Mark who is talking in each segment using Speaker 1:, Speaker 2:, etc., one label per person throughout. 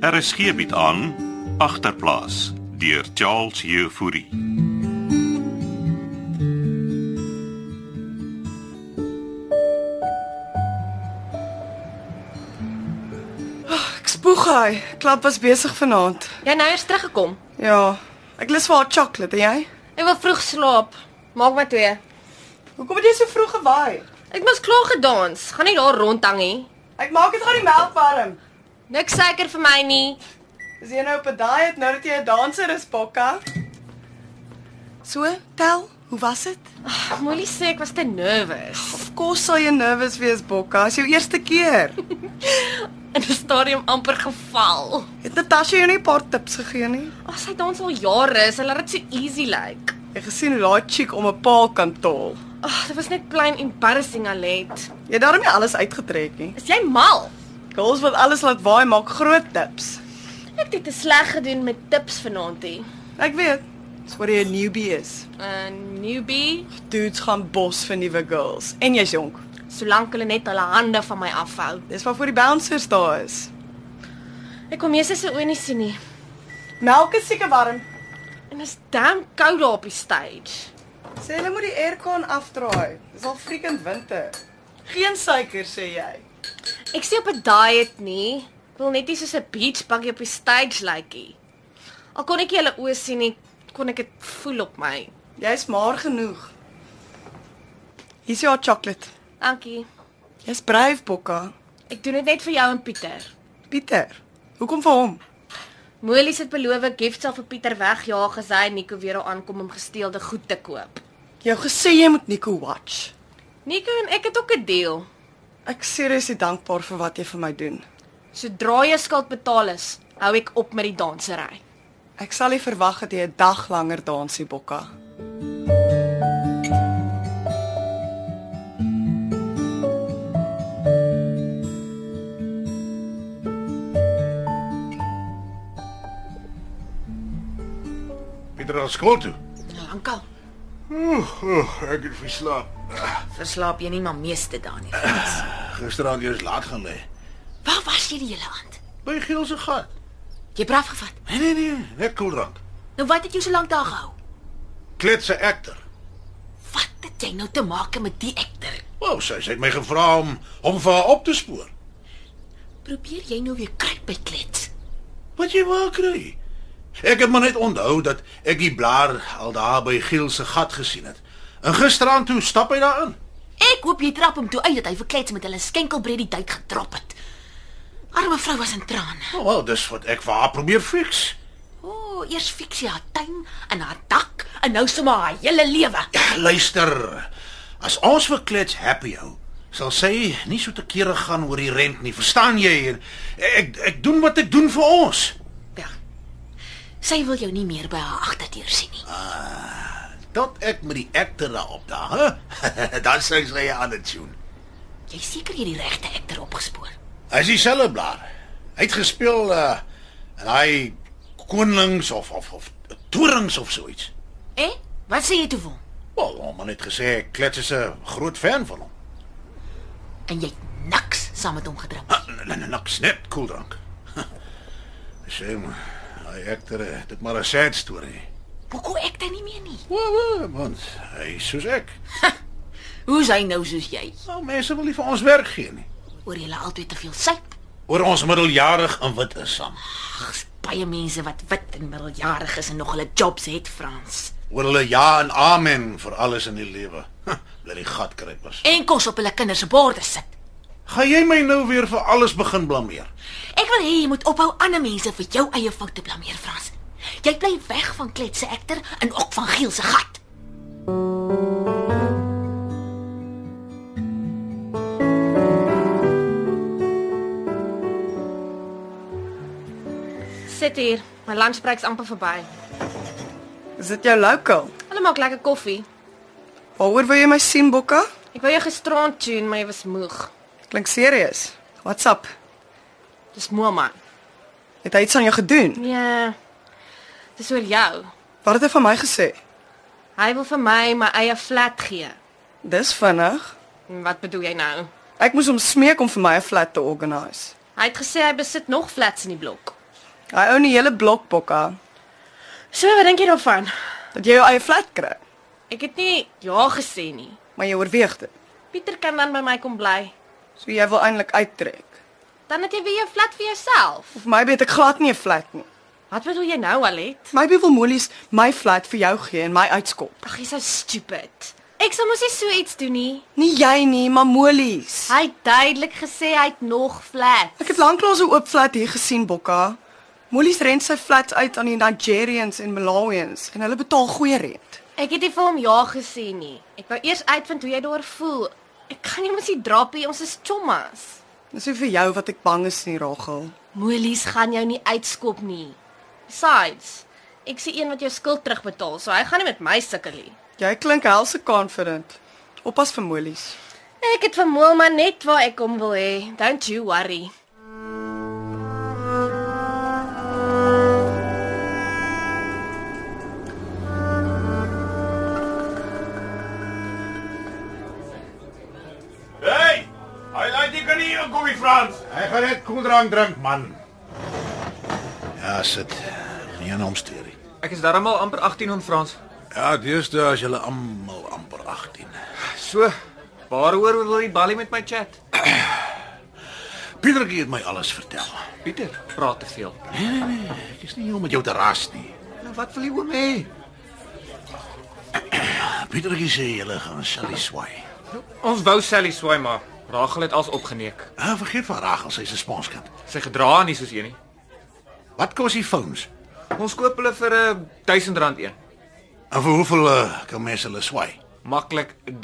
Speaker 1: RSG bied Er aan agterplaas deur Charles Jefouri.
Speaker 2: Ek spoeg hy. Klap was besig vanaand.
Speaker 3: Jy nou eers teruggekom.
Speaker 2: Ja, ek lus vir haar sjokolade, en jy?
Speaker 3: Ek wil vroeg slaap. Maak my 2.
Speaker 2: Hoekom het jy so vroeg gewaai?
Speaker 3: Ek moes klaar gedans. Gaan nie daar rondhang nie.
Speaker 2: Ek maak dit gou die melk warm.
Speaker 3: Niks suiker vir my nie.
Speaker 2: Is jy nou op 'n diet nou dat jy 'n danser is, Bokka? So, tel, hoe was dit?
Speaker 3: Molly sê ek was te nervous.
Speaker 2: Of kos sal jy nervus wees, Bokka. Dis jou eerste keer.
Speaker 3: In 'n stadium amper geval.
Speaker 2: Het Natasha jou nie 'n paar tips gegee nie?
Speaker 3: Ag, sy dans al jare, sy laat dit so easy lyk.
Speaker 2: Jy gesien hoe daai chick om 'n paal kan tol.
Speaker 3: Ag, dit was net plain embarrassing allet.
Speaker 2: Jy het daarmee alles uitgetrek nie.
Speaker 3: Is jy mal?
Speaker 2: Girls wat alles laat waai maak groot tips.
Speaker 3: Ek het dit sleg gedoen met tips vanaand hier.
Speaker 2: Ek weet, dis wat jy 'n newbie is.
Speaker 3: 'n Eh, Newbie,
Speaker 2: Dudes gaan bos vir nuwe girls en jy's jonk.
Speaker 3: solank hulle net hulle hande van my afhou.
Speaker 2: Dis waarvoor die bouncers daar is.
Speaker 3: Ek kom meeste se oë nie sien nie.
Speaker 2: Melk is seker warm.
Speaker 3: En is damn koud daar op die stage.
Speaker 2: Sê hulle moet die aircon afdraai. Dis al freaking winter. Geen suiker sê jy.
Speaker 3: Ek sê op 'n diet nie. Ek wil net nie soos 'n beach buggy op die stage lyk nie. Al kon ek julle oë sien nie, kon ek dit voel op my.
Speaker 2: Jy's maar genoeg. Hier's jou chocolate.
Speaker 3: Dankie.
Speaker 2: Jy's braaf, Bokka.
Speaker 3: Ek doen dit net vir jou en Pieter.
Speaker 2: Pieter. Hoekom vir hom?
Speaker 3: Molies het beloof gift sal vir Pieter wegjaag as hy en Nico weer daar aankom om gesteelde goed te koop.
Speaker 2: Jy het gesê jy moet Nico watch.
Speaker 3: Nico en ek het ook 'n deal.
Speaker 2: Ek seriously dankbaar vir wat jy vir my doen.
Speaker 3: Sodra jy skuld betaal is, hou ek op met die dansery.
Speaker 2: Ek sal nie verwag dat jy 'n dag langer dansie, Bokka.
Speaker 4: Pieter gaan skool toe.
Speaker 5: Lankal.
Speaker 4: Oeh, oeh, ek het verslaap.
Speaker 5: Verslaap jy nie maar meeste dan nie.
Speaker 4: Gisteraand eers laat gaan lê.
Speaker 5: Waar was jy die hele aand?
Speaker 4: By Giel se gat.
Speaker 5: Jy het braaf gevat.
Speaker 4: Nee nee nee, net koeldrank.
Speaker 5: Nou wat het jou so lank daar gehou?
Speaker 4: Kletse ekter.
Speaker 5: Wat het jy nou te maak met die ekter?
Speaker 4: Wow, sy sy het my gevra om hom vir haar op te spoor.
Speaker 5: Probeer jy nou weer kruip by klets?
Speaker 4: Wat jy wou kry. Ek het maar net onthou dat ek die blaar al daar by Giel se gat gesien het. En gisteraand toe stap hy daarin.
Speaker 5: Ek hoop jy trap hom toe uit dat hy vir klets met hulle skenkelbreed die tyd gedrop het. Arme vrou was in trane.
Speaker 4: Nou wel, dis wat ek vir haar probeer fix.
Speaker 5: O, oh, eers fiks jy haar tuin en haar dak en nou sommer haar hele lewe.
Speaker 4: Ja, luister. As ons vir Klets happy hou, sal sy nie so te kere gaan oor die rent nie. Verstaan jy? En Ek ek doen wat ek doen vir ons.
Speaker 5: Wel. Ja. Sy wil jou nie meer by haar agterdeur sien nie.
Speaker 4: Tot ek met die ekter daarop daag, hè? Dan sê sy ja aan die tune.
Speaker 5: Jy is seker jy het die regte ekter opgespoor.
Speaker 4: As jy selfe blaar. Hy het gespeel uh en hy konings of of of torings of so iets.
Speaker 5: Eh? Wat sê jy toe vir hom?
Speaker 4: Wel, hom het gesê Klets is 'n groot fan van hom.
Speaker 5: en jy het niks saam met hom gedrink.
Speaker 4: Ah, Niks net koeldrank. Shame. Hy ekter eh, dit maar 'n sad storie.
Speaker 5: Hoekom ek dit nie meer nie?
Speaker 4: Wel, wel, want hy is soos ek.
Speaker 5: Hoe is hy nou soos jy?
Speaker 4: Nou mense wil nie vir ons werk gee nie.
Speaker 5: Oor jy altyd te veel suip.
Speaker 4: Oor ons middeljarig en wit is saam.
Speaker 5: Ag, is baie mense wat wit en middeljarig is en nog hulle jobs het, Frans.
Speaker 4: Oor hulle ja en amen vir alles in die lewe. Huh, Bly die gat kruip was.
Speaker 5: En kos op hulle kinders se borde sit.
Speaker 4: Gaan jy my nou weer vir alles begin blameer?
Speaker 5: Ek wil hê jy moet ophou ander mense vir jou eie foute blameer, Frans. Jy bly weg van kletse ekter en ook van Giel se gat.
Speaker 3: Sit hier, my lunchbreek's amper verby.
Speaker 2: Is dit jou local?
Speaker 3: Hulle maak lekker koffie.
Speaker 2: Waaroor wil jy my sien, Bokka?
Speaker 3: Ek wou jou gisterand tune, maar jy was moeg.
Speaker 2: Klink serieus. What's up?
Speaker 3: Dis mooi man.
Speaker 2: Het hy iets aan jou gedoen?
Speaker 3: Nee. Dis oor jou.
Speaker 2: Wat het hy van my gesê?
Speaker 3: Hy wil vir my my eie flat gee.
Speaker 2: Dis vinnig.
Speaker 3: En Wat bedoel jy nou?
Speaker 2: Ek moes hom smeek om vir my 'n flat te organise.
Speaker 3: Hy het gesê hy besit nog flats in die blok.
Speaker 2: Hy own die hele blok Bokka.
Speaker 3: So, wat dink jy daarvan?
Speaker 2: Dat jy jou eie flat kry,
Speaker 3: Ek het nie ja gesê nie.
Speaker 2: maar jy oorweeg dit.
Speaker 3: Pieter kan dan by my kom bly.
Speaker 2: So jy wil eintlik uittrek.
Speaker 3: Dan het jy weer 'n flat vir jouself.
Speaker 2: Of maybe het ek glad nie 'n flat nie.
Speaker 3: Wat bedoel jy nou, Alet?
Speaker 2: Maybe wil Molies my flat vir jou gee en my uitskop.
Speaker 3: Ag, jy's so stupid. Ek sal mos nie so iets doen nie.
Speaker 2: Nie jy nie, maar Molies.
Speaker 3: Hy het duidelik gesê hy het nog flats.
Speaker 2: Ek het lanklaas 'n oop flat hier gesien, Bokka. Molies rent sy flats uit aan die Nigerians en Malawians en hulle betaal goeie rent.
Speaker 3: Ek het nie vir hom ja gesê nie. Ek wou eers uitvind hoe jy daar voel. Ek kan nie mos hier drappie, ons is chommas.
Speaker 2: Dis nie vir jou wat ek bang is nie, Rachel.
Speaker 3: Molies gaan jou nie uitskop nie. Besides, ek sien een wat jou skuld terugbetaal, so hy gaan nie met my sukkel nie.
Speaker 2: Jy klink helse confident. Oppas vir Molies.
Speaker 3: Ek het vermoel maar net waar ek hom wil hê. Don't you worry.
Speaker 6: Hey! Hy laat jy kan nie jou koffie Frans.
Speaker 4: Hy gaan net koeldrank drink, man. Ja, sit. Nie aan hom steur nie.
Speaker 7: Ek is darmal amper 18 on Frans.
Speaker 4: Ja, deesdae is julle almal amper 18.
Speaker 7: So, waaroor wil jy balie met my chat?
Speaker 4: Pietertjie het my alles vertel.
Speaker 7: Pieter, praat te veel.
Speaker 4: Nee nee nee, ek is nie hier om met jou te ras nie.
Speaker 7: Nou wat wil jy oor my hê?
Speaker 4: Pietertjie sê julle gaan Sally swai.
Speaker 7: Ons wou Sally swaai maar Rachel het als opgeneek.
Speaker 4: Ah, vergeet van Rachel, sy's 'n sponskant.
Speaker 7: Sy gedra nie soos een nie.
Speaker 4: Wat kos die phones?
Speaker 7: Ons koop hulle vir 'n R1000 een.
Speaker 4: En vir hoeveel uh, kan mens hulle swai?
Speaker 7: Maklik R3000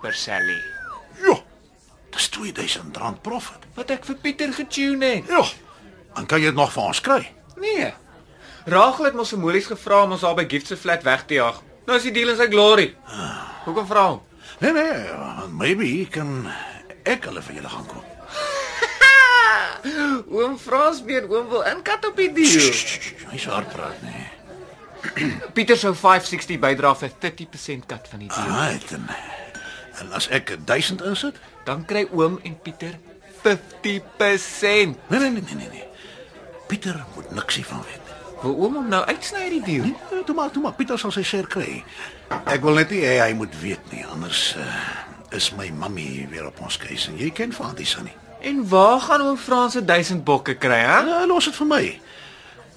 Speaker 7: per Sally.
Speaker 4: Ja. Dis 2000 rand profit.
Speaker 7: Wat ek vir Pieter getune het.
Speaker 4: Ja. Dan kan jy dit nog vir ons kry.
Speaker 7: Nee. Rachel het mos se moelies gevra om ons daar by Gift se flat weg te jaag. Nou is die deal in sy glory. Hoekom vra hom?
Speaker 4: Nee nee, uh, maybe kan ek hulle vir julle gaan koop.
Speaker 7: Oom Frans meen oom wil inkat op die deal.
Speaker 4: Hy sê hard praat nee. nie.
Speaker 7: Pieter sou 560 bydra vir 30% kat van die deal.
Speaker 4: Right. En, en as ek 1000 insit?
Speaker 7: Dan kry oom en Pieter 50%.
Speaker 4: Nee nee nee nee nee, nee. Pieter moet niks hiervan weet.
Speaker 7: Wil oom hom nou uitsny uit die deal?
Speaker 4: Nee, toe maar, toe maar, Pieter sal sy seer kry. Ek wil net nie hê hy moet weet nie, anders uh, is my mammy weer op ons keuse en jy ken vir haar dis nie.
Speaker 7: En waar gaan oom Frans se 1000 bokke kry, hè?
Speaker 4: Nou los dit vir my.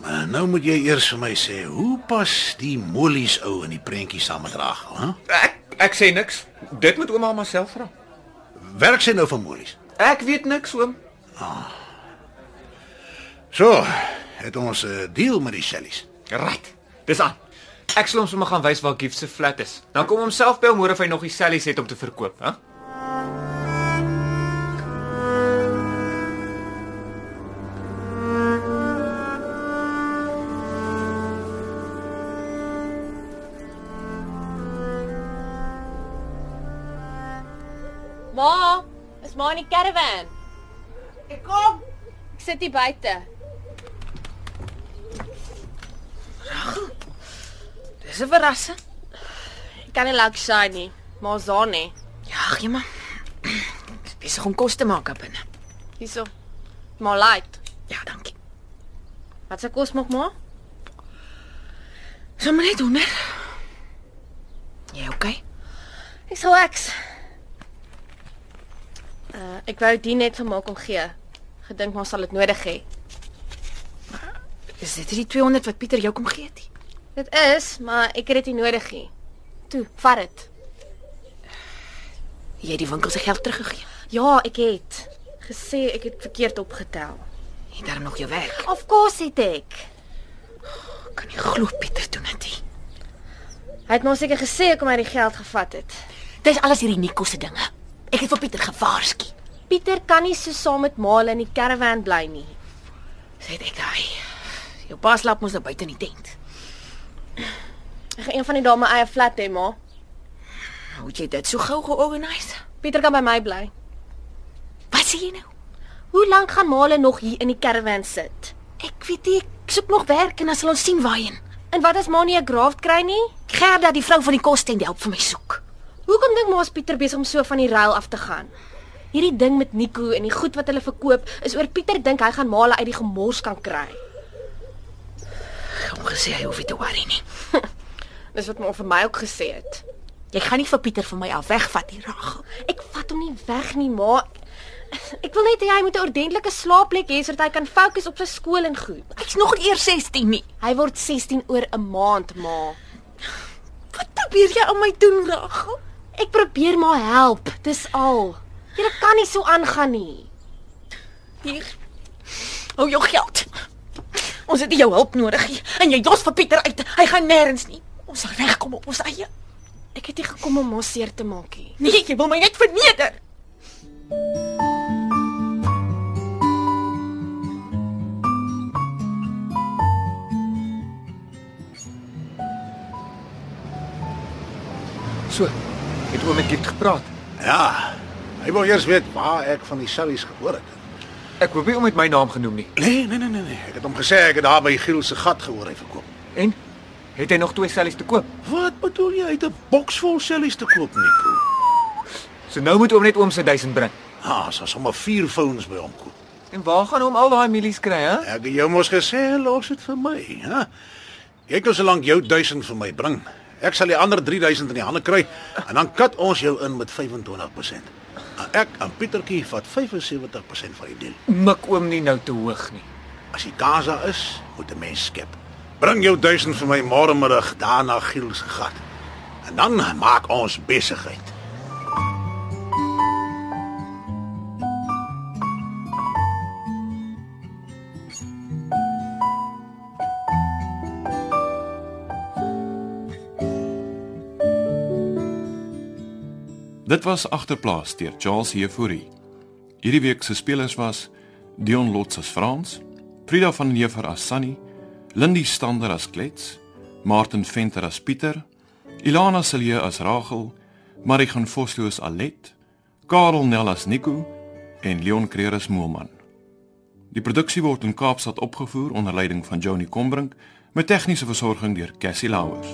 Speaker 4: Maar nou moet jy eers vir my sê, hoe pas die mollies ou in die prentjie saam met Rachel, hè?
Speaker 7: Ek ek sê niks. Dit moet ouma homself vra.
Speaker 4: Werk sy nou vir mollies?
Speaker 7: Ek weet niks oom.
Speaker 4: So, het ons 'n uh, deal met die Shelleys.
Speaker 7: Right. Dis aan. Ek sal hom sommer gaan wys waar Gift se flat is. Dan kom homself bel môre of hy nog die sellies het om te verkoop, hè?
Speaker 3: Ma, is ma in die caravan. Ek kom. Ek sit hier buite.
Speaker 5: Dis 'n verrassing.
Speaker 3: Ek kan nie lank sy nie. Maar son nie.
Speaker 5: Ja, gee maar. Ek is besig om kos te maak daar binne.
Speaker 3: Hierso. Maar light.
Speaker 5: Ja, dankie.
Speaker 3: Wat se kos maak ma?
Speaker 5: Sou maar net honger. Jy okay?
Speaker 3: Ek sal eks. Uh, ek wou dit net vir my kom gee. Gedink maar sal dit nodig hê.
Speaker 5: Is dit die 200 wat Pieter jou kom gee het?
Speaker 3: Dit is, maar ek het dit nie nodig nie. Toe, vat dit.
Speaker 5: Jy het die winkel se geld teruggegee.
Speaker 3: Ja, ek het gesê ek het verkeerd opgetel.
Speaker 5: Jy het daar nog jou werk.
Speaker 3: Of course het ek.
Speaker 5: Ek kan nie glo Pieter doen dit nie.
Speaker 3: Hy het mos seker gesê ek hom uit die geld gevat het.
Speaker 5: Dis alles hierdie Nico se dinge. Ek het vir Pieter gewaarsku.
Speaker 3: Pieter kan nie so saam met Maal in die caravan bly nie.
Speaker 5: Sê dit ek daai. Jou pa slaap mos nou buite in die tent.
Speaker 3: Ek gaan een van die dae my eie flat hê, ma.
Speaker 5: Hoe het jy dit so gou georganiseer?
Speaker 3: Pieter kan by my bly.
Speaker 5: Wat sê jy nou?
Speaker 3: Hoe lank gaan Maal nog hier in die caravan sit?
Speaker 5: Ek weet nie, ek soek nog werk en dan sal ons sien waarheen.
Speaker 3: En wat as Ma nie 'n graft kry nie?
Speaker 5: Gerda, die vrou van die kostent, help vir my soek.
Speaker 3: Hoekom dink Ma's Pieter besig om so van die rail af te gaan? Hierdie ding met Nico en die goed wat hulle verkoop, is oor Pieter dink hy gaan Male uit die gemors kan kry.
Speaker 5: Ek het hom gesê hy hoef nie te worry nie.
Speaker 3: Dis wat my vir my ook gesê het.
Speaker 5: Jy gaan nie vir Pieter van my af wegvat hier, Rachel.
Speaker 3: Ek vat hom nie weg nie, maar ek wil net hê hy moet 'n ordentlike slaapplek hê sodat hy kan fokus op sy skool en goed.
Speaker 5: Hy's nog nie eers 16 nie.
Speaker 3: Hy word 16 oor 'n maand, ma.
Speaker 5: Wat probeer jy aan my doen, Rachel?
Speaker 3: Ek probeer maar help, dis al. Jy kan nie so aangaan nie.
Speaker 5: Hier. Hou jou geld. Ons het nie jou hulp nodig nie. En jy los vir Pieter uit. Hy gaan nêrens nie. Ons sal regkom op ons eie.
Speaker 3: Ek het nie gekom om mos seer te maak nie.
Speaker 5: Nee, jy wil my net verneder.
Speaker 7: So, het oom met Gift gepraat.
Speaker 4: Ja. Hy wou eers weet waar ek van die Sallies gehoor het.
Speaker 7: Ek hoop nie oom het my naam genoem nie.
Speaker 4: Nee, nee, nee, nee, nee. Ek het hom gesê ek het daar by Giel se gat gehoor hy verkoop.
Speaker 7: En het hy nog twee sellies te koop?
Speaker 4: Wat bedoel jy uit 'n boks vol Sallies te koop, Nico?
Speaker 7: So nou moet oom net oom se 1000 bring.
Speaker 4: Ah, so sommer vier phones by hom koop.
Speaker 7: En waar gaan oom al daai mielies kry, hè?
Speaker 4: Ek het jou mos gesê los dit vir my, hè? Jy kan solank jou 1000 vir my bring. Ek sal die ander 3000 in die hande kry en dan kat ons jou in met 25%. En ek en Pietertjie vat 75% van die deal.
Speaker 7: Mik oom nie nou te hoog nie.
Speaker 4: As die kans daar is, moet 'n mens skep. Bring jou 1000 vir my môre middag daar na Giel se gat. En dan maak ons besigheid.
Speaker 8: Dit was agterplaas deur Charles Heffouri. Hierdie week se spelers was Dion Lots as Frans, Frida van den Heever as Sunny, Lindy Stander as Klets, Martin Venter as Pieter, Ilana Silje as Rachel, Marie van Vosloo as Alet, Karel Nel as Nico en Leon Creer as Moelman. Die produksie word in Kaapstad opgevoer onder leiding van Johnny Combrink met tegniese versorging deur Cassie Lauers.